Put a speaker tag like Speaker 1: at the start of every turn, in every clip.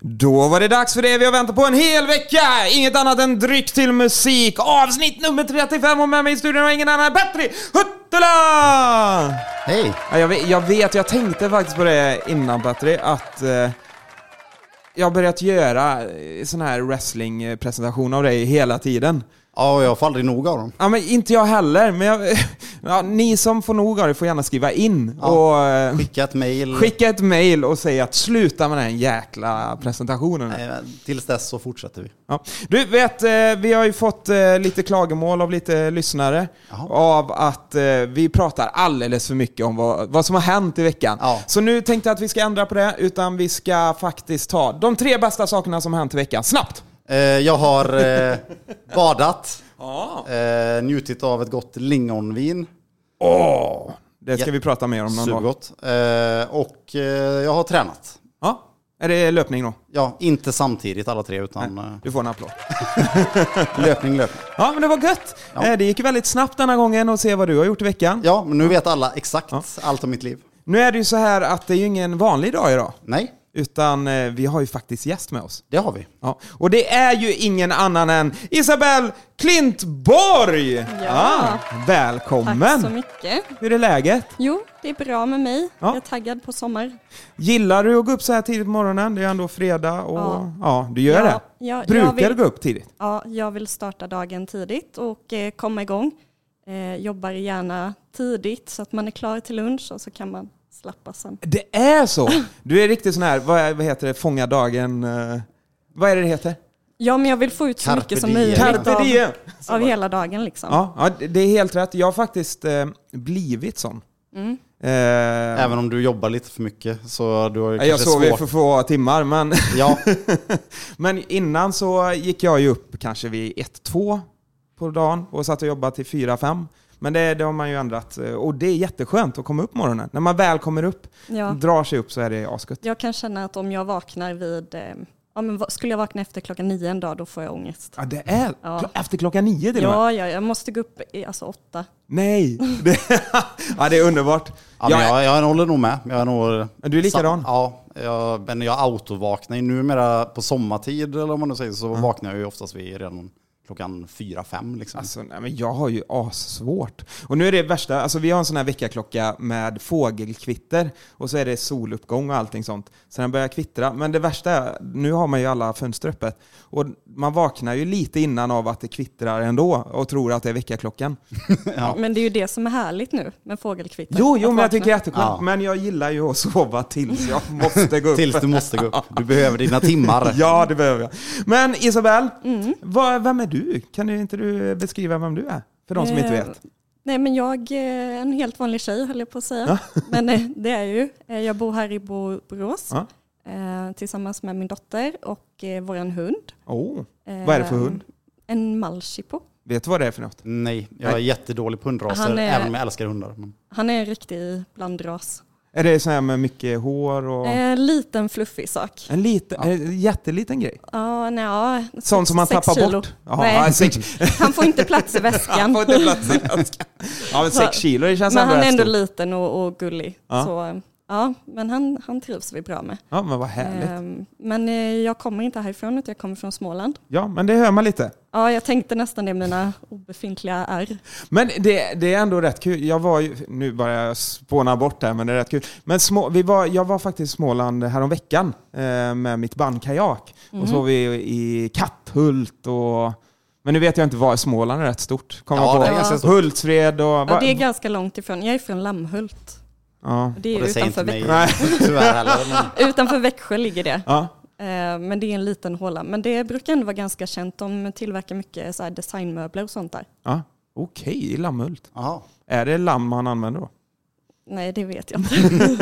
Speaker 1: Då var det dags för det vi har väntat på en hel vecka! Inget annat än dryck till musik. Avsnitt nummer 35 och med mig i studion har ingen annan än Petri Huttula!
Speaker 2: Hej!
Speaker 1: Ja, jag, vet, jag vet, jag tänkte faktiskt på det innan Petri, att eh, jag har börjat göra eh, sån här wrestlingpresentation av dig hela tiden.
Speaker 2: Ja, jag får aldrig nog av dem.
Speaker 1: Ja, men inte jag heller, men jag, ja, ni som får nog av det får gärna skriva in
Speaker 2: Ja.
Speaker 1: och eh,
Speaker 2: Skicka ett mejl.
Speaker 1: skicka ett mail och säga att sluta med den här jäkla presentationen.
Speaker 2: Nej, men Eh, Tills dess så fortsätter vi.
Speaker 1: Ja. Du vet, eh, vi har ju fått eh, lite klagomål av lite lyssnare
Speaker 2: Jaha.
Speaker 1: av att eh, vi pratar alldeles för mycket om vad, vad som har hänt i veckan.
Speaker 2: Ja.
Speaker 1: Så nu tänkte jag att vi ska ändra på det, utan vi ska faktiskt ta de tre bästa sakerna som har hänt i veckan. Snabbt!
Speaker 2: Eh, Jag har eh, badat, eh, njutit av ett gott lingonvin.
Speaker 1: Åh! Det ska
Speaker 2: Ja.
Speaker 1: vi prata mer om någon dag.
Speaker 2: Supergott. Eh, Och eh, jag har tränat.
Speaker 1: Ja. Är det löpning då?
Speaker 2: Ja, inte samtidigt alla tre, utan eh,
Speaker 1: Du får en applåd.
Speaker 2: löpning, löpning.
Speaker 1: Ja, men det var gött.
Speaker 2: Ja.
Speaker 1: Eh, Det gick ju väldigt snabbt denna gången att se vad du har gjort i veckan.
Speaker 2: Ja, men nu vet alla exakt allt om mitt liv.
Speaker 1: Nu är det ju så här att det är ju ingen vanlig dag idag,
Speaker 2: Nej,
Speaker 1: utan eh, vi har ju faktiskt gäst med oss.
Speaker 2: det har vi.
Speaker 1: Ja, och det är ju ingen annan än Isabelle Klintborg! Ah, välkommen!
Speaker 3: Tack så mycket.
Speaker 1: Hur är läget?
Speaker 3: Jo, det är bra med mig.
Speaker 1: Ja.
Speaker 3: Jag är taggad på sommar.
Speaker 1: Gillar du att gå upp så här tidigt på morgonen? Det är ändå fredag och ja,
Speaker 3: Ja.
Speaker 1: du gör
Speaker 3: Ja,
Speaker 1: det.
Speaker 3: ja, jag
Speaker 1: Brukar
Speaker 3: vill-
Speaker 1: du gå upp tidigt?
Speaker 3: Ja, jag vill starta dagen tidigt och eh, komma igång. Eh, jobbar gärna tidigt så att man är klar till lunch och så kan man slappa sen.
Speaker 1: Det är så! Du är riktigt sån här, vad, är, vad heter det, fånga dagen... eh, vad är det det heter?
Speaker 3: Ja, men jag vill få ut så
Speaker 2: Carpe
Speaker 3: mycket som
Speaker 2: diem.
Speaker 3: möjligt
Speaker 1: Carpe diem!
Speaker 3: av, av hela dagen. Liksom.
Speaker 1: Ja, ja, det- det är helt rätt. Jag har faktiskt eh, blivit sån.
Speaker 3: Mm.
Speaker 1: Eh,
Speaker 2: Även om du jobbar lite för mycket, så du har ju
Speaker 1: jag
Speaker 2: kanske
Speaker 1: sover ju
Speaker 2: svårt.
Speaker 1: för få timmar, men...
Speaker 2: Ja,
Speaker 1: Men innan så gick jag ju upp kanske vid 1-2 på dagen och satt och jobbade till 4-5. Men det, det har man ju ändrat eh, och det är jätteskönt att komma upp på morgonen. När man väl kommer upp,
Speaker 3: Ja.
Speaker 1: drar sig upp så är det asgött.
Speaker 3: Jag kan känna att om jag vaknar vid, eh, ja, men va- skulle jag vakna efter klockan nio en dag då får jag ångest.
Speaker 1: Ja, det är
Speaker 3: Ja.
Speaker 1: kl- efter klockan nio till och med.
Speaker 3: Ja, ja, jag måste gå upp i, alltså åtta.
Speaker 1: Nej! Det, ja, det är underbart.
Speaker 2: ja men jag, jag håller nog med. Jag är nog,
Speaker 1: Du är likadan.
Speaker 2: Sam- Ja, jag, men jag autovaknar ju numera på sommartid eller om man nu säger så,
Speaker 1: Mm.
Speaker 2: vaknar jag ju oftast vid redan klockan fyra fem liksom.
Speaker 1: Alltså, nej, men jag har ju assvårt. Och nu är det värsta, alltså vi har en sån här veckaklocka med fågelkvitter och så är det soluppgång och allting sånt. Så den börjar kvittra. Men det värsta är, nu har man ju alla fönster öppet och man vaknar ju lite innan av att det kvittrar ändå och tror att det är veckaklockan.
Speaker 3: Men det är ju det som är härligt nu med fågelkvitter.
Speaker 1: Jo, jo,
Speaker 3: Att
Speaker 1: men jag tycker det
Speaker 3: vakna.
Speaker 1: är jätteskönt.
Speaker 2: Ja.
Speaker 1: Men jag gillar ju att sova tills jag måste gå upp.
Speaker 2: Tills du måste gå upp. Du behöver dina timmar.
Speaker 1: Ja, det behöver jag. Men Isabel, vad, vem är du? Kan du, inte du beskriva vem du är? För de som inte
Speaker 3: Eh,
Speaker 1: vet.
Speaker 3: Nej, men jag är en helt vanlig tjej höll jag på att säga. men eh, det är ju. Eh, Jag bor här i Bo- Borås
Speaker 1: Ja.
Speaker 3: eh, tillsammans med min dotter och eh, vår hund.
Speaker 1: Oh.
Speaker 3: Eh,
Speaker 1: Vad är det för hund?
Speaker 3: En malshipo.
Speaker 1: Vet du vad det är för något?
Speaker 2: Nej, jag är
Speaker 1: Nej.
Speaker 2: jättedålig på hundraser,
Speaker 3: Han är-
Speaker 2: även om jag älskar hundar. Men
Speaker 3: Han är en riktig blandras.
Speaker 1: Är det så här med mycket hår och...
Speaker 3: Eh, liten fluffig sak.
Speaker 1: En liten, en jätteliten grej.
Speaker 3: Ja, nej, ja,
Speaker 1: Sånt som man
Speaker 3: sex
Speaker 1: tappar
Speaker 3: kilo.
Speaker 1: bort. Ja,
Speaker 3: Nej,
Speaker 1: ja, sex,
Speaker 3: Han får inte plats i väskan.
Speaker 1: han får inte plats i väskan. Ja, men sex kilo, det känns
Speaker 3: men han är
Speaker 1: rätt
Speaker 3: ändå
Speaker 1: stort.
Speaker 3: liten och, och gullig.
Speaker 1: Ja.
Speaker 3: Så, eh, ja, men han, han trivs vi bra med.
Speaker 1: Ja, men vad härligt.
Speaker 3: Ehm, Men eh, jag kommer inte härifrån utan jag kommer från Småland.
Speaker 1: Ja, men det hör man lite.
Speaker 3: Ja, jag tänkte nästan det mina obefintliga är.
Speaker 1: Men det, det är ändå rätt kul. Jag var ju, nu börjar jag spåna bort här, men det är rätt kul. Men små, vi var, jag var faktiskt i Småland häromveckan eh, med mitt band Kajak.
Speaker 3: Mhm.
Speaker 1: Och så var vi i Katthult och... Men nu vet jag inte vad Småland är rätt stort. Kommer
Speaker 2: Ja,
Speaker 1: jag på.
Speaker 2: det är
Speaker 3: ganska
Speaker 2: stort.
Speaker 1: Hultsfred och...
Speaker 3: Ja, det är ganska långt ifrån. Jag är från Lammhult.
Speaker 1: ja.
Speaker 3: Det är
Speaker 2: och det säger
Speaker 3: utanför,
Speaker 2: inte mig
Speaker 3: Växjö.
Speaker 1: Nej.
Speaker 2: tyvärr heller. Men
Speaker 3: utanför Växjö ligger det.
Speaker 1: ja.
Speaker 3: Ehm, Men det är en liten håla. Men det brukar ändå vara ganska känt. De tillverkar mycket så här designmöbler och sånt där.
Speaker 1: Ja, okej, i Lammhult.
Speaker 2: Jaha.
Speaker 1: Är det lamm han använder då?
Speaker 3: Nej, det vet jag inte.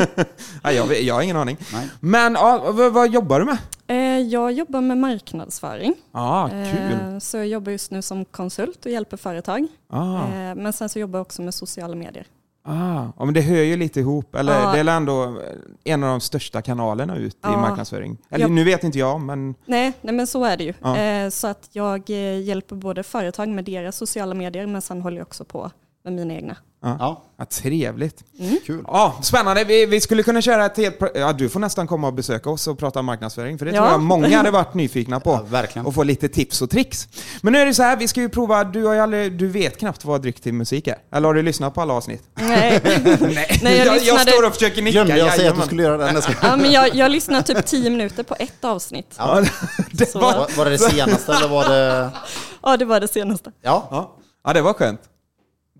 Speaker 1: Nej, jag, vet- jag har ingen aning.
Speaker 2: Nej.
Speaker 1: Men ja, vad, vad jobbar du med?
Speaker 3: Ehm, Jag jobbar med marknadsföring.
Speaker 1: Ja, kul.
Speaker 3: Ehm, Så jag jobbar just nu som konsult och hjälper företag.
Speaker 1: Ah,
Speaker 3: Ehm, Men sen så jobbar jag också med sociala medier.
Speaker 1: ah. Ja, men det hör ju lite ihop. Eller
Speaker 3: Ja.
Speaker 1: det är ändå eh, en av de största kanalerna ut i
Speaker 3: Ja.
Speaker 1: marknadsföring. Eller
Speaker 3: Ja.
Speaker 1: nu vet inte jag, men
Speaker 3: Nej, nej men så är det ju.
Speaker 1: Ja.
Speaker 3: Eh, så att jag eh, hjälper både företag med deras sociala medier men sen håller jag också på med mina egna.
Speaker 2: Ja,
Speaker 1: Ja, trevligt.
Speaker 3: Mm.
Speaker 2: kul.
Speaker 1: Ja, spännande. Vi, vi skulle kunna köra ett helt... pro- Ja, du får nästan komma och besöka oss och prata om marknadsföring, för det
Speaker 3: Ja.
Speaker 1: tror jag många hade varit nyfikna på.
Speaker 2: Ja, verkligen.
Speaker 1: Och få lite tips och tricks. Men nu är det så här, vi ska ju prova... Du, har ju aldrig, du vet knappt vad dryck till musik är. Eller har du lyssnat på alla avsnitt?
Speaker 3: Nej.
Speaker 1: Nej,
Speaker 3: Nej, jag
Speaker 1: jag, jag,
Speaker 3: lyssnade-
Speaker 1: står och försöker nicka.
Speaker 2: Glömde jag säga att du
Speaker 1: jajamän.
Speaker 2: skulle göra det? Nej, jag skojar.
Speaker 3: Ja, men jag, jag lyssnar typ tio minuter på ett avsnitt. Ja,
Speaker 1: Ja, det
Speaker 3: Så-
Speaker 1: var...
Speaker 2: Var, var det det senaste eller var det...
Speaker 3: det var det senaste.
Speaker 2: Ja,
Speaker 1: Ja. ja, det var skönt.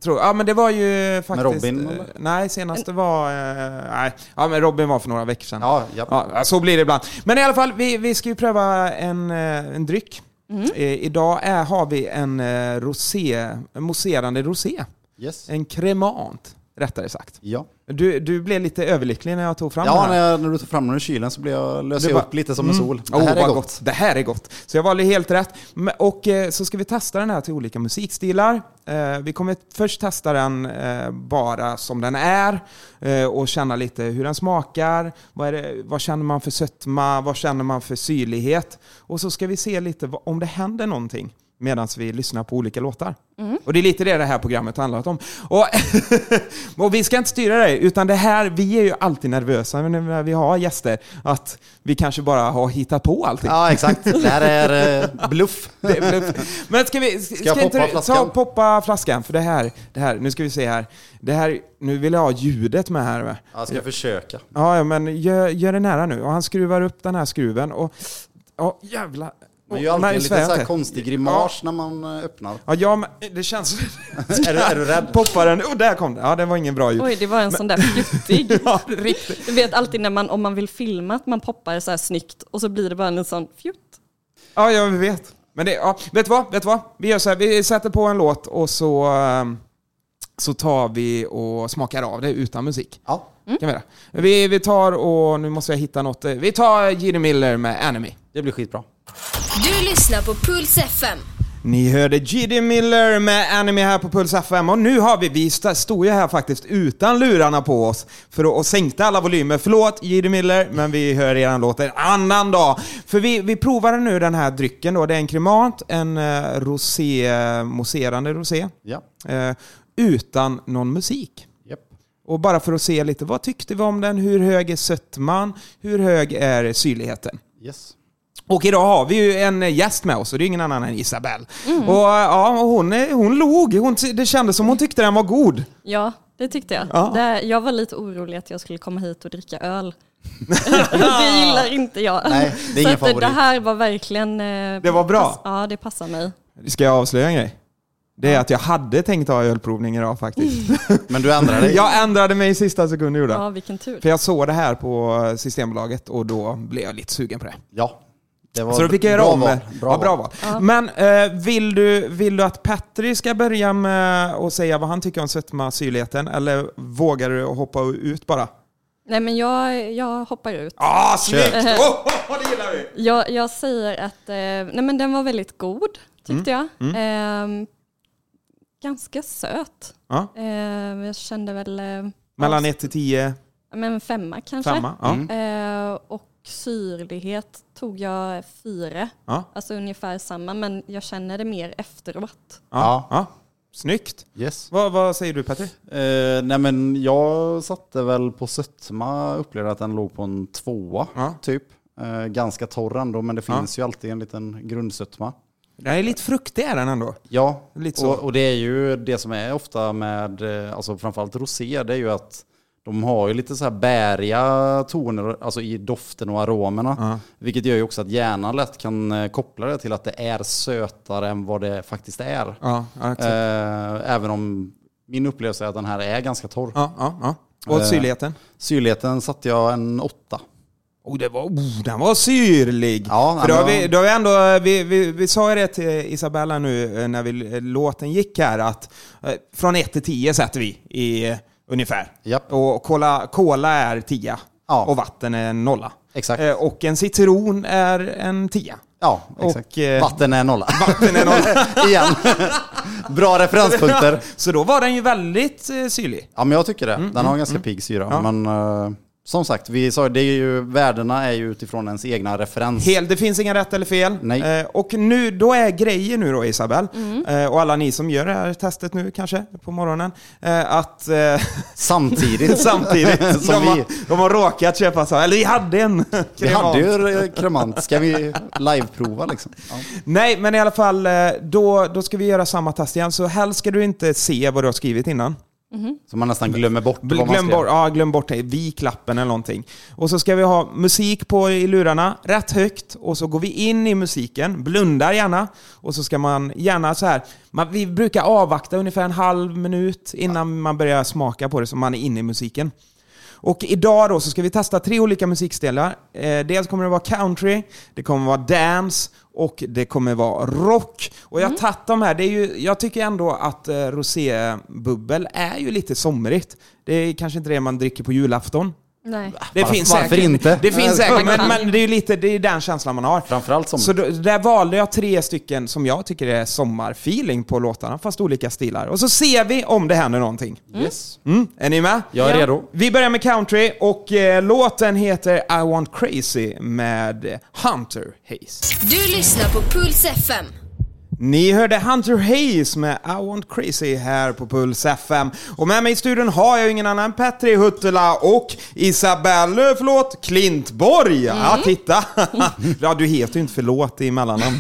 Speaker 1: Tror, ja, men det var ju faktiskt...
Speaker 2: Robin,
Speaker 1: eh,
Speaker 2: eller?
Speaker 1: Nej, senaste var... eh, nej, ja, men Robin var för några veckor sedan.
Speaker 2: ja, ja.
Speaker 1: Ja, så blir det ibland. Men i alla fall, vi, vi ska ju pröva en, eh, en dryck. Eh, idag är, har vi en eh, rosé, en mousserande rosé.
Speaker 2: Yes.
Speaker 1: En cremant, rättare sagt.
Speaker 2: Ja,
Speaker 1: Du, du blev lite överlycklig när jag tog fram
Speaker 2: ja
Speaker 1: den här.
Speaker 2: när, när du tar fram den ur kylen så blir jag, löser
Speaker 1: Det
Speaker 2: jag
Speaker 1: var-
Speaker 2: upp lite som en sol. Det
Speaker 1: Åh,
Speaker 2: här är
Speaker 1: Mm. Oh, vad
Speaker 2: gott.
Speaker 1: gott. Det här är gott. Så jag valde helt rätt. Men- Och eh, så ska vi testa den här till olika musikstilar. Eh, Vi kommer först testa den eh, bara som den är eh, och känna lite hur den smakar. Vad, är det, vad känner man för sötma? Vad känner man för syrlighet? Och så ska vi se lite vad- om det händer någonting medan vi lyssnar på olika låtar. Och det är lite det det här programmet har handlat om. Och, och vi ska inte styra dig, utan det här, vi är ju alltid nervösa när vi har gäster, att vi kanske bara har hittat på allting.
Speaker 2: Ja, exakt. Det här är eh, bluff.
Speaker 1: Det är väl- Men ska vi... Ska,
Speaker 2: jag
Speaker 1: inte
Speaker 2: poppa
Speaker 1: du-
Speaker 2: flaskan?
Speaker 1: Ta, poppa flaskan, för det här, det här, nu ska vi se här. Det här, nu vill jag ha ljudet med här. va?
Speaker 2: Jag ska försöka.
Speaker 1: Ja, ja men gör, gör det nära nu. Och han skruvar upp den här skruven och... Ja, jävlar.
Speaker 2: Man
Speaker 1: Åh,
Speaker 2: gör alltid
Speaker 1: nej,
Speaker 2: en
Speaker 1: svär
Speaker 2: lite
Speaker 1: jag
Speaker 2: så här
Speaker 1: inte.
Speaker 2: konstig grimas när man eh, öppnar.
Speaker 1: Ja, ja, men det känns...
Speaker 2: Är du, är du rädd?
Speaker 1: Poppa den. Oh, där kom den. Ja, det var ingen bra ljud.
Speaker 3: Oj, det var en sån där fjuttig.
Speaker 1: Ja, riktigt.
Speaker 3: Du vet alltid när man, om man vill filma, att man poppar så här snyggt och så blir det bara en sån fjutt.
Speaker 1: Ja, jag vet. Men det, ja, vet du vad? Vet du vad? Vi gör så här, vi sätter på en låt och så, ehm, så tar vi och smakar av det utan musik.
Speaker 2: Ja.
Speaker 1: Kan vi, göra. vi, vi tar och nu måste jag hitta något. Eh, Vi tar Jimmy Miller med Enemy.
Speaker 2: Det blir skitbra.
Speaker 4: Du lyssnar på Puls FM.
Speaker 1: Ni hörde J.D. Miller med Anime här på Puls FM och nu har vi, vi st- stod ju här faktiskt utan lurarna på oss för att, och sänkte alla volymer. Förlåt J.D. Miller, men vi hör eran låt en annan dag. För vi, vi provade nu den här drycken då, det är en cremant, en eh, rosé, mousserande rosé,
Speaker 2: Ja.
Speaker 1: eh, utan någon musik.
Speaker 2: Japp.
Speaker 1: Och bara för att se lite, vad tyckte vi om den? Hur hög är sötman? Hur hög är syrligheten?
Speaker 2: Yes.
Speaker 1: Och idag har vi ju en gäst med oss och det är ingen annan än Isabelle. Och eh, ja, och hon, är- hon log. Hon, ty- det kändes som hon tyckte den var god.
Speaker 3: Ja, det tyckte jag.
Speaker 1: Ja.
Speaker 3: Det, jag var lite orolig att jag skulle komma hit och dricka öl. det gillar inte jag.
Speaker 2: Nej, det är
Speaker 3: så
Speaker 2: ingen
Speaker 3: att det,
Speaker 2: favorit.
Speaker 3: det här var verkligen... eh,
Speaker 1: Det var bra.
Speaker 3: pass- ja, det passar mig.
Speaker 1: Ska jag avslöja en grej? Det är att jag hade tänkt ha ölprovning idag faktiskt.
Speaker 2: Men du ändrar dig.
Speaker 1: Jag ändrade mig i sista sekund gjorde jag.
Speaker 3: Ja, vilken tur.
Speaker 1: För jag såg det här på Systembolaget och då blev jag lite sugen på det.
Speaker 2: Ja. Det var
Speaker 1: Så då fick jag göra
Speaker 2: bra
Speaker 1: om.
Speaker 2: val.
Speaker 1: Bra, ja, bra
Speaker 2: val.
Speaker 1: val. Men eh, vill, du, vill du att Petri ska börja med att säga vad han tycker om sötma syrligheten? Eller vågar du hoppa ut bara?
Speaker 3: Nej, men jag, jag hoppar ut.
Speaker 1: Ah, snyggt! Oh, oh, det gillar vi!
Speaker 3: Jag, jag säger att eh, nej, men den var väldigt god,
Speaker 1: Mm.
Speaker 3: tyckte jag. Ehm, ganska söt.
Speaker 1: Ja.
Speaker 3: Ehm, jag kände väl eh,
Speaker 1: Mellan 1 till 10,
Speaker 3: ja, men en femma kanske.
Speaker 1: femma. Ja.
Speaker 3: Ehm, och syrlighet tog jag fyra.
Speaker 1: Ja.
Speaker 3: Alltså ungefär samma, men jag känner det mer efteråt.
Speaker 1: Ja. Ja. Snyggt.
Speaker 2: Yes.
Speaker 1: Vad, vad säger du Petter?
Speaker 2: Eh, nej men jag satte väl på sötma, upplevde att den låg på en tvåa
Speaker 1: Ja.
Speaker 2: typ. Eh, ganska torr ändå men det finns ju alltid en liten grundsötma.
Speaker 1: Den är lite fruktig är den ändå.
Speaker 2: Ja,
Speaker 1: Lite så.
Speaker 2: Och, och det är ju det som är ofta med, eh, alltså framförallt rosé, det är ju att de har ju lite så här bäriga toner alltså i doften och aromerna. Vilket gör ju också att hjärnan lätt kan eh, koppla det till att det är sötare än vad det faktiskt är.
Speaker 1: Ja, ja, exakt.
Speaker 2: Eh, även om min upplevelse är att den här är ganska torr.
Speaker 1: ja, ja, ja. Och
Speaker 2: Eh.
Speaker 1: syrligheten?
Speaker 2: Syrligheten satte jag en åtta.
Speaker 1: Oh, det var, oh, den var syrlig!
Speaker 2: Ja,
Speaker 1: För då har
Speaker 2: men-
Speaker 1: vi, då har vi, ändå, vi, vi, vi sa ju det till Isabella nu eh, när vi, eh, låten gick här att eh, från 1 till 10 sätter vi i eh, ungefär.
Speaker 2: Japp.
Speaker 1: Och cola, cola är 10
Speaker 2: Ja.
Speaker 1: och vatten är en nolla.
Speaker 2: Exakt.
Speaker 1: Eh, Och en citron är en 10.
Speaker 2: Ja, exakt.
Speaker 1: Och, eh,
Speaker 2: Vatten är nolla.
Speaker 1: Vatten är nolla.
Speaker 2: Igen. Bra referenspunkter.
Speaker 1: Så då var den ju väldigt eh, syrlig. mm,
Speaker 2: Ja, men jag tycker det. Den har en ganska pigg syra. Men eh, Som sagt, vi sa, det är ju, värdena är ju utifrån ens egna referens.
Speaker 1: Helt, det finns inga rätt eller fel.
Speaker 2: Nej.
Speaker 1: Eh, och nu, då är grejen nu då Isabel, eh, och alla ni som gör det här testet nu kanske på morgonen, eh, att eh,
Speaker 2: Samtidigt.
Speaker 1: samtidigt
Speaker 2: Som
Speaker 1: de, har,
Speaker 2: vi.
Speaker 1: de har råkat köpa så här, eller vi hade en
Speaker 2: Vi
Speaker 1: kremant.
Speaker 2: hade ju eh, kremant. Ska vi liveprova liksom? Ja.
Speaker 1: Nej, men i alla fall, eh, då, då ska vi göra samma test igen. Så helst ska du inte se vad du har skrivit innan.
Speaker 2: Så man nästan glömmer bort vad man
Speaker 1: Glöm
Speaker 2: skrev.
Speaker 1: bort, ja, glöm bort det. Vik lappen eller någonting. Och så ska vi ha musik på i lurarna, rätt högt. Och så går vi in i musiken, blundar gärna. Och så ska man gärna så här, man, vi brukar avvakta ungefär en halv minut innan man börjar smaka på det så man är inne i musiken. Och idag då så ska vi testa tre olika musikstilar. Eh, dels kommer det vara country, det kommer vara dance och det kommer vara rock. Och jag
Speaker 2: Mm.
Speaker 1: har tagit de här, det är ju, jag tycker ändå att eh, rosébubbel är ju lite somrigt. Det är kanske inte det man dricker på julafton.
Speaker 3: Nej.
Speaker 1: Det
Speaker 2: Varför- varför inte?
Speaker 1: Det finns
Speaker 2: Ja,
Speaker 1: säkert, men, men det är ju lite, det är den känslan man har.
Speaker 2: Framförallt som...
Speaker 1: Så då, där valde jag tre stycken som jag tycker är sommarfeeling på låtarna, fast olika stilar. Och så ser vi om det händer någonting.
Speaker 2: Yes.
Speaker 1: Mm, är ni med?
Speaker 2: Jag är redo.
Speaker 1: Vi börjar med country och eh, låten heter I want crazy med Hunter Hayes.
Speaker 4: Du lyssnar på Puls FM.
Speaker 1: Ni hörde Hunter Hayes med I want crazy här på Puls FM. Och med mig i studion har jag ju ingen annan än Petri Huttula och Isabelle, förlåt, Klintborg. Ja, titta. ja, du heter ju inte förlåt i mellannamn.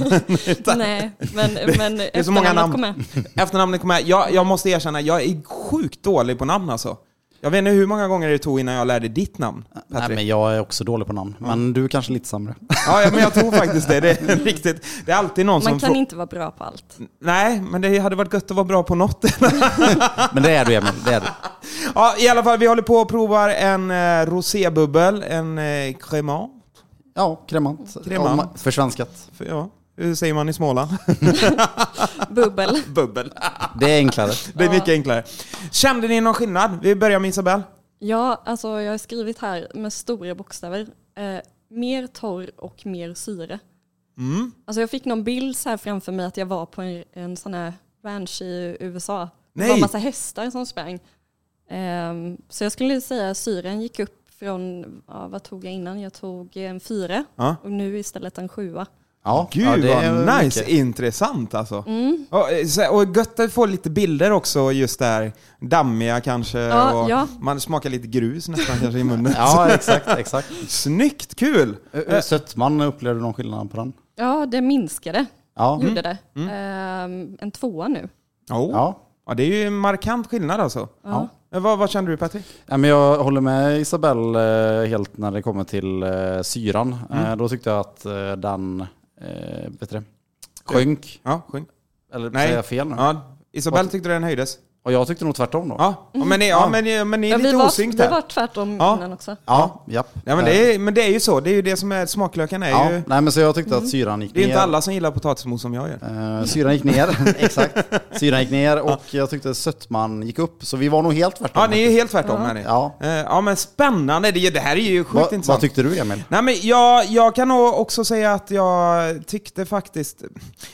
Speaker 3: Nej, men, men
Speaker 1: Det är så många namn.
Speaker 3: Kom med.
Speaker 1: Efternamnet kommer med. Jag, jag måste erkänna, jag är sjukt dålig på namn alltså. Jag vet inte hur många gånger det tog innan jag lärde ditt namn,
Speaker 2: Nej,
Speaker 1: Patrik.
Speaker 2: men jag är också dålig på namn. Men du är kanske lite sämre.
Speaker 1: Ja, ja, men jag tror faktiskt det. Det är riktigt. Det är alltid någon
Speaker 3: Man
Speaker 1: som... frå-
Speaker 3: kan inte vara bra på allt.
Speaker 1: Nej, men det hade varit gött att vara bra på något.
Speaker 2: Men det är du Emil, det är du.
Speaker 1: ja, I alla fall, vi håller på och provar en eh, rosébubbel, en eh, cremant.
Speaker 2: Ja, kremant.
Speaker 1: Kremant.
Speaker 2: Ja, ma- försvenskat.
Speaker 1: För, ja, hur säger man i Småland?
Speaker 3: Bubbel.
Speaker 1: Bubbel.
Speaker 2: Det är enklare.
Speaker 1: Det är mycket enklare. Kände ni någon skillnad? Vi börjar med Isabel.
Speaker 3: Ja, alltså jag har skrivit här med stora bokstäver. Eh, mer torr och mer syre.
Speaker 1: Mm.
Speaker 3: Alltså jag fick någon bild så här framför mig att jag var på en, en sån här ranch i USA.
Speaker 1: Nej!
Speaker 3: Det var en massa hästar som sprang. Ehm, så jag skulle säga att syren gick upp från, ja, vad tog jag innan? Jag tog eh, en fyra
Speaker 1: Ja.
Speaker 3: och nu istället en sjua.
Speaker 2: Ja,
Speaker 1: Gud
Speaker 2: ja, det är
Speaker 1: vad nice!
Speaker 2: mycket.
Speaker 1: Intressant alltså.
Speaker 3: Mm.
Speaker 1: Och, eh, så- och gött att få lite bilder också just där. Dammiga kanske.
Speaker 3: Ja,
Speaker 1: och
Speaker 3: ja.
Speaker 1: Man smakar lite grus nästan kanske i munnen.
Speaker 2: Ja, exakt, exakt.
Speaker 1: Snyggt! Kul!
Speaker 2: Ö- ö, Sötman, upplevde du någon skillnad på den?
Speaker 3: Ja, det minskade,
Speaker 2: Ja.
Speaker 1: Mhm. Mm.
Speaker 3: gjorde det. Ehm, en tvåa nu.
Speaker 1: Oh.
Speaker 2: Ja.
Speaker 1: Ja, det är ju en markant skillnad alltså.
Speaker 2: Ja.
Speaker 1: Eh, Vad, vad kände du Patrik?
Speaker 2: Ja, men jag håller med Isabelle eh, helt när det kommer till eh, syran.
Speaker 1: Mm.
Speaker 2: Eh, Då tyckte jag att eh, den eh, vet du det, sjönk.
Speaker 1: Ja, sjung.
Speaker 2: Eller
Speaker 1: Nej.
Speaker 2: säger jag fel nu?
Speaker 1: Ja, Isabel tyckte den höjdes.
Speaker 2: Och jag tyckte nog tvärtom då.
Speaker 1: Ja, ja, men, ni- ja, men, ni- men ni är
Speaker 3: Ja, vi,
Speaker 1: lite
Speaker 3: var,
Speaker 1: osynkt
Speaker 3: vi var
Speaker 1: där.
Speaker 3: tvärtom
Speaker 1: Ja.
Speaker 3: innan också.
Speaker 2: ja. japp. Eh,
Speaker 1: Ja, men, det är, men det är ju så, det är ju det som är smaklökarna. Är
Speaker 2: Ja,
Speaker 1: ju, Mm.
Speaker 2: nej men så jag tyckte att syran gick
Speaker 1: det är ju
Speaker 2: ner.
Speaker 1: inte alla som gillar potatismos som jag gör.
Speaker 2: Eh, syran gick ner, exakt. Syran gick ner och jag tyckte sötman gick upp. Så vi var nog helt tvärtom.
Speaker 1: Ja, ni är ju helt tvärtom. Är ni.
Speaker 2: Ja.
Speaker 1: Eh, ja, men spännande. Det, det här är ju sjukt
Speaker 2: Va,
Speaker 1: intressant.
Speaker 2: vad tyckte du Emil?
Speaker 1: Nej, men jag, jag kan nog också säga att jag tyckte faktiskt...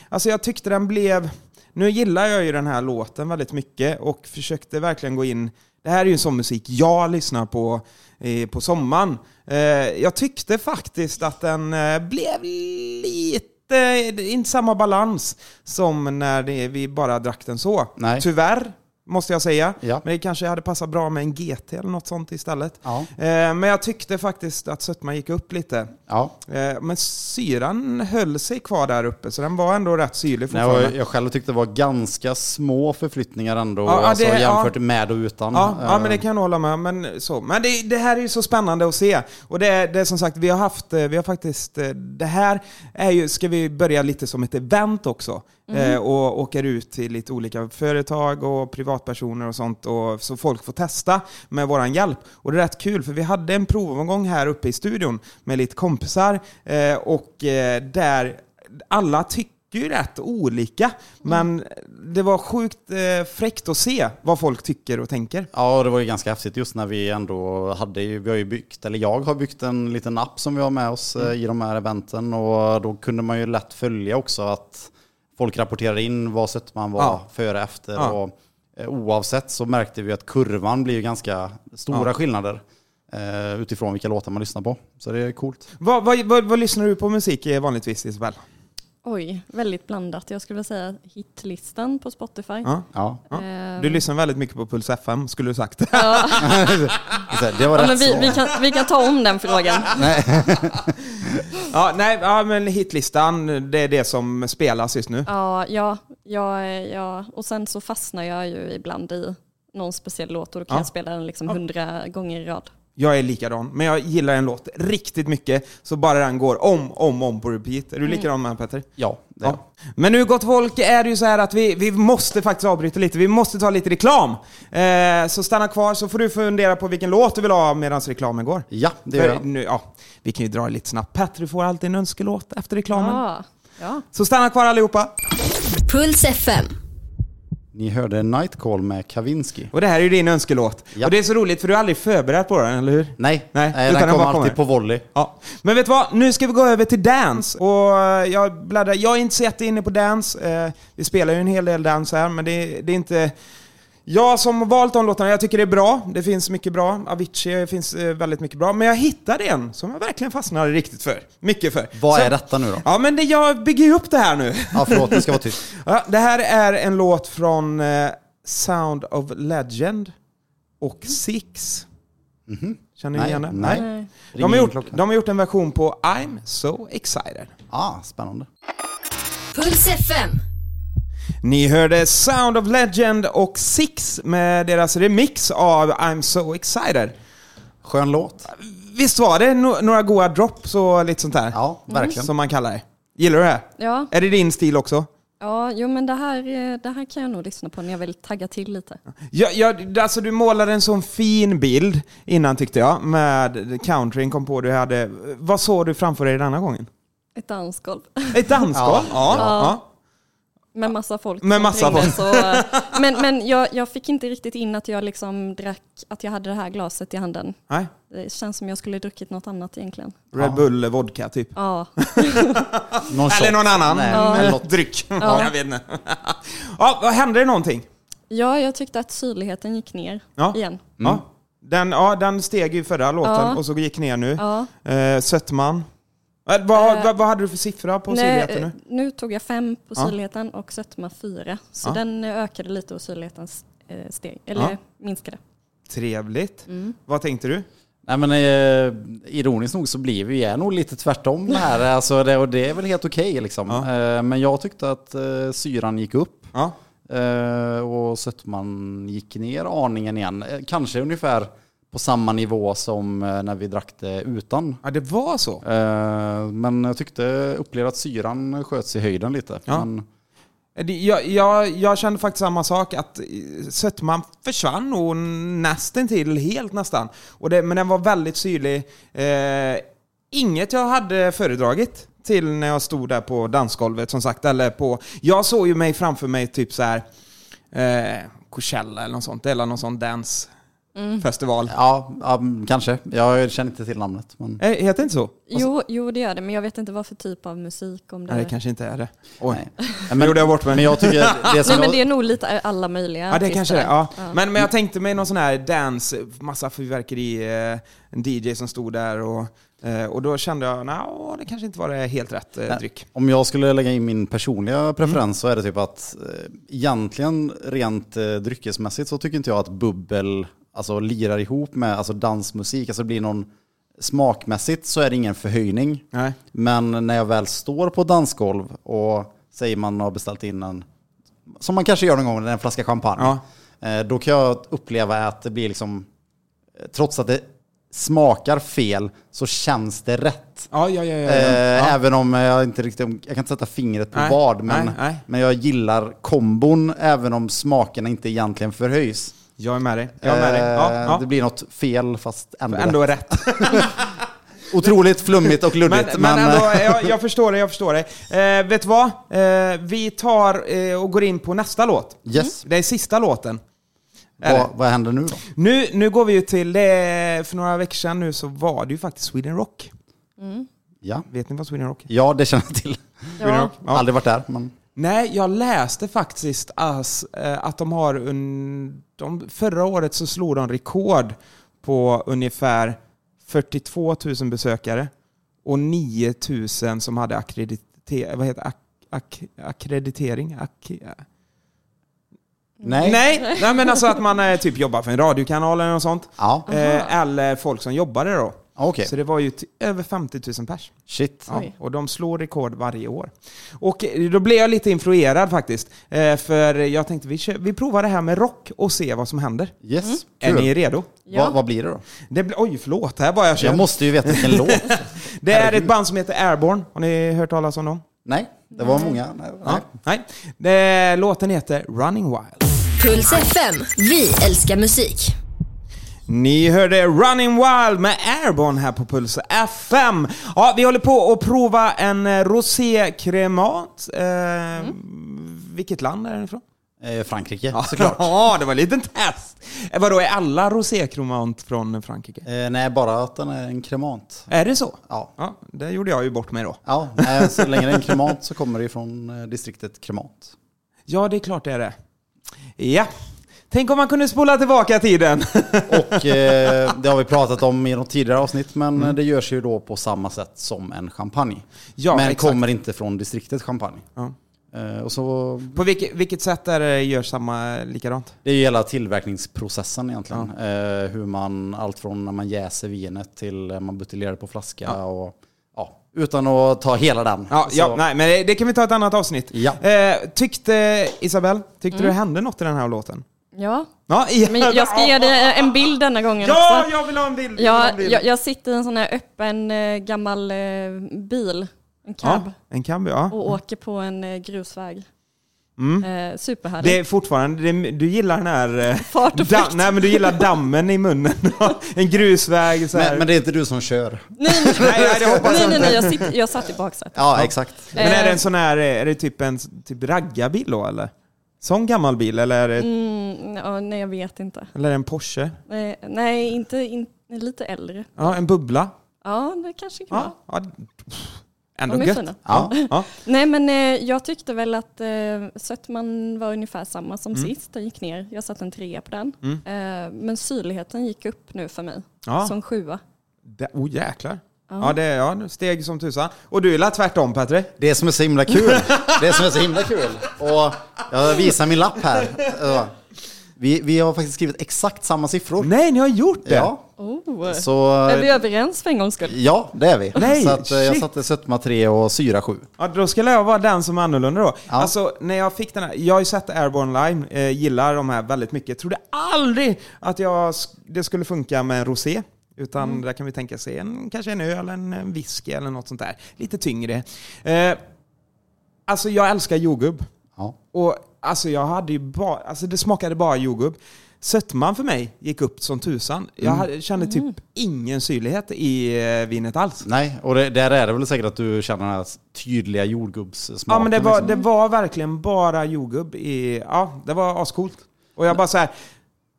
Speaker 1: Alltså jag tyckte den blev... Nu gillar jag ju den här låten väldigt mycket och försökte verkligen gå in... Det här är ju sån musik jag lyssnar på eh, på sommaren. Eh, jag tyckte faktiskt att den eh, blev lite... eh, Inte samma balans som när det, vi bara drack den så.
Speaker 2: Nej.
Speaker 1: Tyvärr, måste jag säga.
Speaker 2: Ja.
Speaker 1: Men det kanske hade passat bra med en GT eller något sånt istället.
Speaker 2: Ja.
Speaker 1: Eh, Men jag tyckte faktiskt att sötman gick upp lite.
Speaker 2: ja.
Speaker 1: Eh, Men syran höll sig kvar där uppe, så den var ändå rätt syrlig
Speaker 2: Nej,
Speaker 1: fortfarande.
Speaker 2: jag, jag själv tyckte det var ganska små förflyttningar ändå,
Speaker 1: Ja, ja,
Speaker 2: alltså,
Speaker 1: det-
Speaker 2: jämfört
Speaker 1: ja.
Speaker 2: med och utan.
Speaker 1: Ja, ja,
Speaker 2: Eh,
Speaker 1: men det kan jag nog hålla med om, men så. Men det, det här är ju så spännande att se. Och det, är- det är som sagt, vi har haft, eh, vi har faktiskt, eh, det här är ju, ska vi börja lite som ett event också. Eh, och åker ut till lite olika företag och privatpersoner och sånt, och, så folk får testa med våran hjälp. Och det är rätt kul, för vi hade en provomgång här uppe i studion med lite kompisar, eh, och eh, där alla tycker tycker ju rätt olika, men det var sjukt eh, fräckt att se vad folk tycker och tänker.
Speaker 2: Ja, och det var ju ganska häftigt just när vi ändå hade, ju- vi har ju byggt, eller jag har byggt en liten app som vi har med oss eh,
Speaker 1: Mm.
Speaker 2: i de här eventen och då kunde man ju lätt följa också att folk rapporterade in vad sött man var
Speaker 1: Ja.
Speaker 2: före efter
Speaker 1: Ja.
Speaker 2: och eh, oavsett så märkte vi att kurvan blir ju ganska stora
Speaker 1: Ja.
Speaker 2: skillnader. eh, utifrån vilka låtar man lyssnar på. Så det är coolt.
Speaker 1: Vad, vad, vad, vad lyssnar du på musik i vanligtvis Isabel?
Speaker 3: Oj, väldigt blandat. Jag skulle vilja säga hitlistan på Spotify.
Speaker 1: Ja.
Speaker 2: Ja.
Speaker 1: Ja.
Speaker 3: Eh,
Speaker 1: Du lyssnar väldigt mycket på Puls FM skulle du sagt.
Speaker 3: ja.
Speaker 2: Så här, Det var
Speaker 3: ja, men
Speaker 2: rätt
Speaker 3: vi,
Speaker 2: svar.
Speaker 3: vi, kan, vi kan ta om den frågan.
Speaker 1: ja, nej, ja, men hitlistan, det är det som spelas just nu.
Speaker 3: Ja, ja, ja, ja, och sen så fastnar jag ju ibland i någon speciell låt och då kan
Speaker 1: Ja.
Speaker 3: jag spela den liksom hundra gånger i rad.
Speaker 1: Jag är likadan, men jag gillar en låt riktigt mycket, så bara den går om, om, om på repeat. Är du likadan med Petter?
Speaker 2: Ja, det är
Speaker 1: Ja. Men nu gott folk är det ju så här att vi, vi måste faktiskt avbryta lite. Vi måste ta lite reklam. Eh, så stanna kvar så får du fundera på vilken låt du vill ha medan reklamen går.
Speaker 2: Ja, det
Speaker 1: För
Speaker 2: gör jag.
Speaker 1: nu, ja, vi kan ju dra det lite snabbt. Petter, du får alltid en önskelåt efter reklamen.
Speaker 3: Ja, ja.
Speaker 1: Så stanna kvar allihopa.
Speaker 4: Puls FM.
Speaker 2: Ni hörde Nightcall med Kavinsky.
Speaker 1: Och det här är ju din önskelåt.
Speaker 2: Ja.
Speaker 1: Och det är så roligt för du har aldrig förberett på den, eller hur?
Speaker 2: Nej,
Speaker 1: Nej,
Speaker 2: eh,
Speaker 1: utan
Speaker 2: den
Speaker 1: den
Speaker 2: kom
Speaker 1: bara kommer.
Speaker 2: alltid på volley.
Speaker 1: Ja. Men vet du vad? Nu ska vi gå över till dance. Och eh, jag, bläddrar. jag är inte så jätteinne på dance. Eh, vi spelar ju en hel del dance här, men det, det är inte... Jag som har valt de låtarna, jag tycker det är bra. Det finns mycket bra. Avicii det finns eh, väldigt mycket bra. Men jag hittade en som jag verkligen fastnade riktigt för. Mycket för.
Speaker 2: Vad
Speaker 1: Så-
Speaker 2: är detta nu då?
Speaker 1: Ja, men det, jag bygger ju upp det här nu.
Speaker 2: Ja, förlåt, det ska vara tyst.
Speaker 1: Ja, det här är en låt från eh, Sound of Legend och Six. Känner ni
Speaker 2: Mm. Mhm. Nej,
Speaker 1: igen det?
Speaker 2: nej.
Speaker 3: Nej.
Speaker 1: De har,
Speaker 2: Ring in
Speaker 1: gjort,
Speaker 2: klockan.
Speaker 1: de har gjort en version på I'm so excited.
Speaker 2: Ah, spännande.
Speaker 4: Puls FM.
Speaker 1: Ni hörde Sound of Legend och Six med deras remix av I'm so excited.
Speaker 2: Skön låt.
Speaker 1: Visst var det no några goa drops och lite sånt där?
Speaker 2: Ja, verkligen.
Speaker 1: Som man kallar det. Gillar du det? här?
Speaker 3: Ja,
Speaker 1: Är det din stil också?
Speaker 3: ja jo, men det här, eh, det här kan jag nog lyssna på när jag vill tagga till lite.
Speaker 1: Ja, ja, alltså du målade en sån fin bild innan tyckte jag med countryn kom på du hade. Vad såg du framför dig denna gången?
Speaker 3: Ett dansgolv
Speaker 1: Ett dansgolv?
Speaker 2: Ja.
Speaker 1: Ja. ja.
Speaker 3: med massa folk.
Speaker 1: Med
Speaker 3: som
Speaker 1: massa
Speaker 3: trängdes
Speaker 1: folk.
Speaker 3: och, eh, men men jag, jag fick inte riktigt in att jag liksom drack, att jag hade det här glaset i handen.
Speaker 1: Nej.
Speaker 3: Det känns som jag skulle druckit något annat egentligen.
Speaker 1: Red Bull vodka typ.
Speaker 3: Ja,
Speaker 2: Någon
Speaker 1: Mm. Eller
Speaker 2: shot.
Speaker 1: någon annan
Speaker 2: Nej,
Speaker 1: eh,
Speaker 2: eller något.
Speaker 1: dryck. Ja. Jag vet inte. ja, vad hände det någonting?
Speaker 3: ja jag tyckte att syrligheten gick ner
Speaker 1: Ja.
Speaker 3: igen.
Speaker 2: Mm.
Speaker 1: Ja. Den, ja, den steg ju förra låten
Speaker 3: Ja.
Speaker 1: och så gick ner nu.
Speaker 3: Ja.
Speaker 1: Eh, Sötman. Eh, vad,
Speaker 3: Eh.
Speaker 1: vad, vad hade du för siffra på syrligheten nu?
Speaker 3: eh, tog jag fem på
Speaker 1: Ja.
Speaker 3: syrligheten och sötma fyra. Så
Speaker 1: Ja.
Speaker 3: den eh, ökade lite och syrligheten s- eh, steg, eller
Speaker 1: Ja.
Speaker 3: minskade.
Speaker 1: Trevligt.
Speaker 3: mm.
Speaker 1: Vad tänkte du?
Speaker 2: Nej men eh, ironiskt nog så blir vi är nog lite tvärtom här. Alltså, det, och det är väl helt okej liksom.
Speaker 1: Ja.
Speaker 2: Eh, men jag tyckte att eh, syran gick upp
Speaker 1: Ja.
Speaker 2: eh, och sötman gick ner aningen igen. Eh, kanske ungefär på samma nivå som eh, när vi drack det utan.
Speaker 1: ja, det var så.
Speaker 2: Eh, men jag tyckte, upplevde att syran sköts i höjden lite.
Speaker 1: Ja.
Speaker 2: Men,
Speaker 1: Eh, Det- Jag, jag, jag kände faktiskt samma sak, att eh, sötman försvann nog nästan till helt nästan. Och det, men den var väldigt syrlig. Eh, inget jag hade föredragit till när jag stod där på dansgolvet som sagt. Eller på, jag såg ju mig framför mig typ så här eh, Coachella eller något sånt, eller någon sån
Speaker 3: Mm.
Speaker 1: dansfestival.
Speaker 2: ja, ja, kanske. Jag känner inte till namnet. Men...
Speaker 1: Eh, heter det inte så?
Speaker 3: Jo, jo, det gör det, men jag vet inte vad för typ av musik om det
Speaker 1: Nej, det kanske inte är det. Oj.
Speaker 2: Nej.
Speaker 1: Men, gjorde jag bort mig.
Speaker 2: Men jag tycker det som
Speaker 3: Nej, men
Speaker 2: jag-
Speaker 3: det är nog lite alla möjliga
Speaker 1: Ja, det
Speaker 3: artister
Speaker 1: kanske det är.
Speaker 3: där.
Speaker 1: Ja. Men, men jag tänkte mig någon sån här dance, massa fyrverkeri, eh, en DJ som stod där och, eh, och då kände jag, nej, det kanske inte var det helt rätt eh,
Speaker 2: Nej.
Speaker 1: dryck.
Speaker 2: Om jag skulle lägga in min
Speaker 1: Mm.
Speaker 2: personliga preferens så är det typ att eh, egentligen rent eh, dryckesmässigt så tycker inte jag att bubbel alltså, lirar ihop med alltså, dansmusik. Alltså det blir någon, smakmässigt så är det ingen förhöjning.
Speaker 1: Nej.
Speaker 2: Men när jag väl står på dansgolv och säger man har beställt in en, som man kanske gör någon gång, en flaska champagne.
Speaker 1: Ja.
Speaker 2: Eh, Då kan jag uppleva att det blir liksom, eh, trots att det smakar fel så känns det rätt.
Speaker 1: Ja, ja, ja. ja, ja.
Speaker 2: Eh,
Speaker 1: ja.
Speaker 2: Även om jag inte riktigt, jag kan inte sätta fingret på
Speaker 1: Nej,
Speaker 2: vad, men,
Speaker 1: nej, nej.
Speaker 2: men jag gillar kombon även om smakerna inte egentligen förhöjs.
Speaker 1: Jag är med dig. Jag är med dig. Ja,
Speaker 2: Eh, Det
Speaker 1: ja.
Speaker 2: blir något fel fast ändå,
Speaker 1: Ändå
Speaker 2: rätt.
Speaker 1: rätt.
Speaker 2: Otroligt flummigt och
Speaker 1: Men,
Speaker 2: luddigt.
Speaker 1: men
Speaker 2: men,
Speaker 1: ändå,
Speaker 2: eh,
Speaker 1: jag, jag förstår det, jag förstår det. Eh, vet du vad? Eh, vi tar eh, och går in på nästa låt.
Speaker 2: eh, yes,
Speaker 1: Det är sista låten. Mm. Är det?
Speaker 2: vad, vad händer nu då?
Speaker 1: Nu, nu går vi ju till, det, för några veckor sedan nu så var det ju faktiskt Sweden Rock.
Speaker 2: Ja.
Speaker 1: Vet ni vad Sweden Rock är?
Speaker 2: ja, det känner jag till.
Speaker 1: Sweden Rock? Ja.
Speaker 2: Aldrig varit där, men
Speaker 1: Nej, jag läste faktiskt as, eh, att de har un, de, förra året så slog de rekord på ungefär 42 000 besökare och 9 000 som hade akkrediter- vad heter, det? ak- ak- akkreditering. Ak-
Speaker 2: Nej.
Speaker 1: Nej, nej, men alltså att man eh, typ jobbar för en radiokanal eller något sånt.
Speaker 2: Ja, Ah,
Speaker 1: Eh, eller folk som jobbade då.
Speaker 2: okej.
Speaker 1: Så det var ju t- över 50 000 pers.
Speaker 2: Shit.
Speaker 1: Ja,
Speaker 3: Oj.
Speaker 1: och de slår rekord varje år. Och eh, då blev jag lite influerad faktiskt. Eh, För jag tänkte vi, kör, vi provar det här med rock och ser vad som händer.
Speaker 2: Yes,
Speaker 1: Mm. Är ni
Speaker 2: kul.
Speaker 1: redo?
Speaker 3: Ja.
Speaker 2: Vad, vad blir det då? Alltså,
Speaker 1: Det blir, oj, förlåt. Här var jag
Speaker 2: Jag
Speaker 1: själv.
Speaker 2: måste ju veta vilken låt.
Speaker 1: Det är ett band som heter Airborne. Har ni hört talas om dem?
Speaker 2: Nej, det var många. Nej,
Speaker 1: Ja.
Speaker 2: nej.
Speaker 1: Nej. Det, låten heter Running Wild.
Speaker 4: Puls FM. Vi älskar musik.
Speaker 1: Ni hörde Running Wild med Airborne här på Puls FM. Ja, vi håller på att prova en eh, Rosé Cremat. Eh, Vilket land är den ifrån?
Speaker 2: Eh, Frankrike,
Speaker 1: Ja,
Speaker 2: såklart.
Speaker 1: Ja, det var en liten test. Eh, Vadå, är alla Rosé Cremant från Frankrike?
Speaker 2: Eh, nej, bara att den är en kremant.
Speaker 1: Är det så?
Speaker 2: Ja.
Speaker 1: Ja, det gjorde jag ju bort mig då.
Speaker 2: Ja, nej, så länge det är en kremant så kommer det ju från eh, distriktet Kremant.
Speaker 1: Ja, det är klart det är det. Ja. Tänk om man kunde spola tillbaka tiden.
Speaker 2: Och eh, det har vi pratat om i något tidigare avsnitt, men
Speaker 1: Mm.
Speaker 2: eh, det görs ju då på samma sätt som en champagne.
Speaker 1: Ja,
Speaker 2: men
Speaker 1: exakt.
Speaker 2: kommer inte från distriktet champagne.
Speaker 1: Ja.
Speaker 2: Eh, och så,
Speaker 1: På vilket, vilket sätt är det, gör samma likadant?
Speaker 2: det är ju hela tillverkningsprocessen egentligen. Eh, hur man, allt från när man jäser vinet till när man buteljerar på flaska och ja, utan att ta hela den.
Speaker 1: Ja,
Speaker 2: Så-
Speaker 1: ja nej, men det- det kan vi ta ett annat avsnitt.
Speaker 2: Ja.
Speaker 1: Eh, tyckte, Isabel, tyckte du det hände något i den här låten?
Speaker 3: Ja,
Speaker 1: Ja, i-
Speaker 3: Mm. men jag ska ge dig en bild denna gången
Speaker 1: Ja,
Speaker 3: också.
Speaker 1: jag vill ha en bild! jag vill ha en
Speaker 3: Jag,
Speaker 1: bild.
Speaker 3: jag, jag sitter i en sån här öppen eh, gammal eh, bil, en cab,
Speaker 1: Ja, en cab, ja.
Speaker 3: och åker på en eh, grusväg.
Speaker 1: Mm.
Speaker 3: Eh, superhärligt.
Speaker 1: Det är fortfarande, det, du gillar den här... eh,
Speaker 3: Fart och
Speaker 1: Dam,
Speaker 3: fläkt.
Speaker 1: nej men du gillar dammen i munnen. en grusväg så här.
Speaker 2: Men, men det är inte du som kör.
Speaker 3: Nej, nej,
Speaker 1: Nej, nej, det hoppas
Speaker 3: nej,
Speaker 1: jag
Speaker 3: nej,
Speaker 1: inte.
Speaker 3: nej jag, sitter, jag satt i baksätet.
Speaker 2: Ja, exakt.
Speaker 1: Men är det en sån här, är det typ en typ raggarbil då eller? Sån gammal bil eller är det,
Speaker 3: Mm, ja, nej, jag vet inte.
Speaker 1: eller är det en Porsche?
Speaker 3: Eh, nej, inte, in, lite äldre.
Speaker 1: Ja, en bubbla?
Speaker 3: Ja, det kanske kan vara.
Speaker 1: Ja. ja. pff, Ändå
Speaker 3: De är
Speaker 1: gött.
Speaker 3: fina.
Speaker 1: Ja. Ja.
Speaker 3: Nej, men eh, jag tyckte väl att eh, sötman var ungefär samma som
Speaker 1: Mm.
Speaker 3: sist. Den gick ner. Jag satte en trea på den. Eh, men syrligheten gick upp nu för mig.
Speaker 1: Ja.
Speaker 3: Som sjua.
Speaker 1: Det, oh jäklar. Ja, det är ja, nu steg som tusan. Och du gillar tvärtom Petri?
Speaker 2: Det som är så himla kul, det som är så himla kul, och jag visar min lapp här. Eh, Vi, vi har faktiskt skrivit exakt samma siffror.
Speaker 1: Nej, ni har gjort det!
Speaker 2: Ja,
Speaker 3: Oh.
Speaker 2: så...
Speaker 3: Är vi överens för en gångs skull?
Speaker 2: Ja, det är vi.
Speaker 1: Nej,
Speaker 2: så att, eh, jag
Speaker 1: shit.
Speaker 2: satte sötma 3 och syra 7.
Speaker 1: Ja, då skulle jag vara den som är annorlunda då.
Speaker 2: Ja.
Speaker 1: Alltså, när jag fick den här, jag har ju sett Airborne Lime, eh, gillar de här väldigt mycket. Trodde aldrig att jag, sk- det skulle funka med en rosé. Utan där kan vi tänka sig en, kanske en öl, en, en whisky eller något sånt där. Lite tyngre. Eh, alltså jag älskar jordgubb.
Speaker 2: Ja.
Speaker 1: Och alltså jag hade ju bara, alltså det smakade bara jordgubb. Sötman för mig gick upp som tusan. Jag hade, kände typ ingen syrlighet i eh, vinet alls.
Speaker 2: Nej, och det, där är det väl säkert att du känner den här tydliga jordgubbssmaken.
Speaker 1: Ja men det var,
Speaker 2: liksom.
Speaker 1: det var verkligen bara jordgubb i, ja det var ascoolt. Och jag bara så här,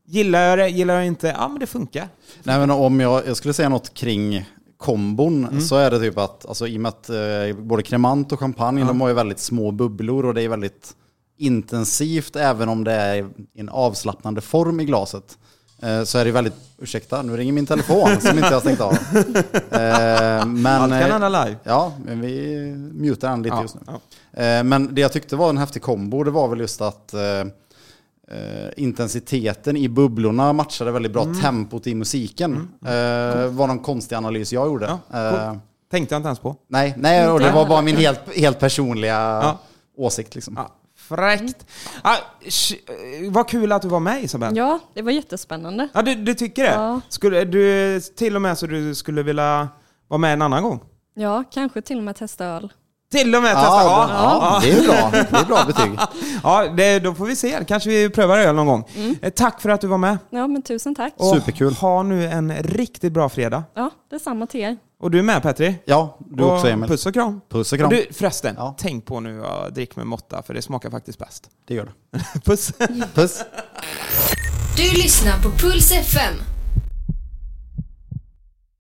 Speaker 1: gillar jag det, gillar jag inte, ja men det funkar.
Speaker 2: Nej, men om jag, jag skulle säga något kring kombon
Speaker 1: Mm.
Speaker 2: så är det typ att, alltså, i och med att eh, både kremant och champagne, de har ju väldigt små bubblor och det är väldigt intensivt även om det är i en avslappnande form i glaset. Eh, så är det väldigt, ursäkta nu ringer min telefon som inte jag stängt av. Eh, men,
Speaker 1: Allt kan
Speaker 2: eh,
Speaker 1: hända live.
Speaker 2: Ja, men vi mutar den lite
Speaker 1: Ja,
Speaker 2: just nu.
Speaker 1: ja.
Speaker 2: Eh, Men det jag tyckte var en häftig kombo, det var väl just att eh, eh, intensiteten i bubblorna matchade väldigt bra
Speaker 1: Mm.
Speaker 2: tempot i musiken. Eh, var någon konstig analys jag gjorde.
Speaker 1: Ja,
Speaker 2: eh,
Speaker 1: coolt. Tänkte jag inte ens på.
Speaker 2: nej, nej, och det var bara min helt, helt personliga åsikt liksom.
Speaker 1: Ja, fräckt. Ja, sh- eh, vad kul att du var med Isabel. Ja.
Speaker 3: Ja, det var jättespännande.
Speaker 1: du, du tycker det?
Speaker 3: Ja.
Speaker 1: Skulle, du, till och med så du skulle vilja vara med en annan gång?
Speaker 3: Ja, kanske till och med testa öl.
Speaker 1: Till och med testa? Ja,
Speaker 2: det-
Speaker 1: ja,
Speaker 2: det är bra. Det är bra betyg.
Speaker 1: ja. det, då får vi se. Kanske vi prövar öl någon gång. Eh, Tack för att du var med.
Speaker 3: Ja, men tusen tack.
Speaker 1: Och
Speaker 2: Superkul.
Speaker 1: Ha nu en riktigt bra fredag.
Speaker 3: Ja, detsamma till er.
Speaker 1: Och du är med Petri?
Speaker 2: Ja, du
Speaker 1: Och
Speaker 2: också Emil.
Speaker 1: Puss och kram.
Speaker 2: Puss och kram.
Speaker 1: Du, förresten,
Speaker 2: Ja.
Speaker 1: tänk på nu att drick med måtta för det smakar faktiskt bäst.
Speaker 2: Det gör du.
Speaker 1: Puss!
Speaker 2: Puss.
Speaker 4: Du lyssnar på Puls FM.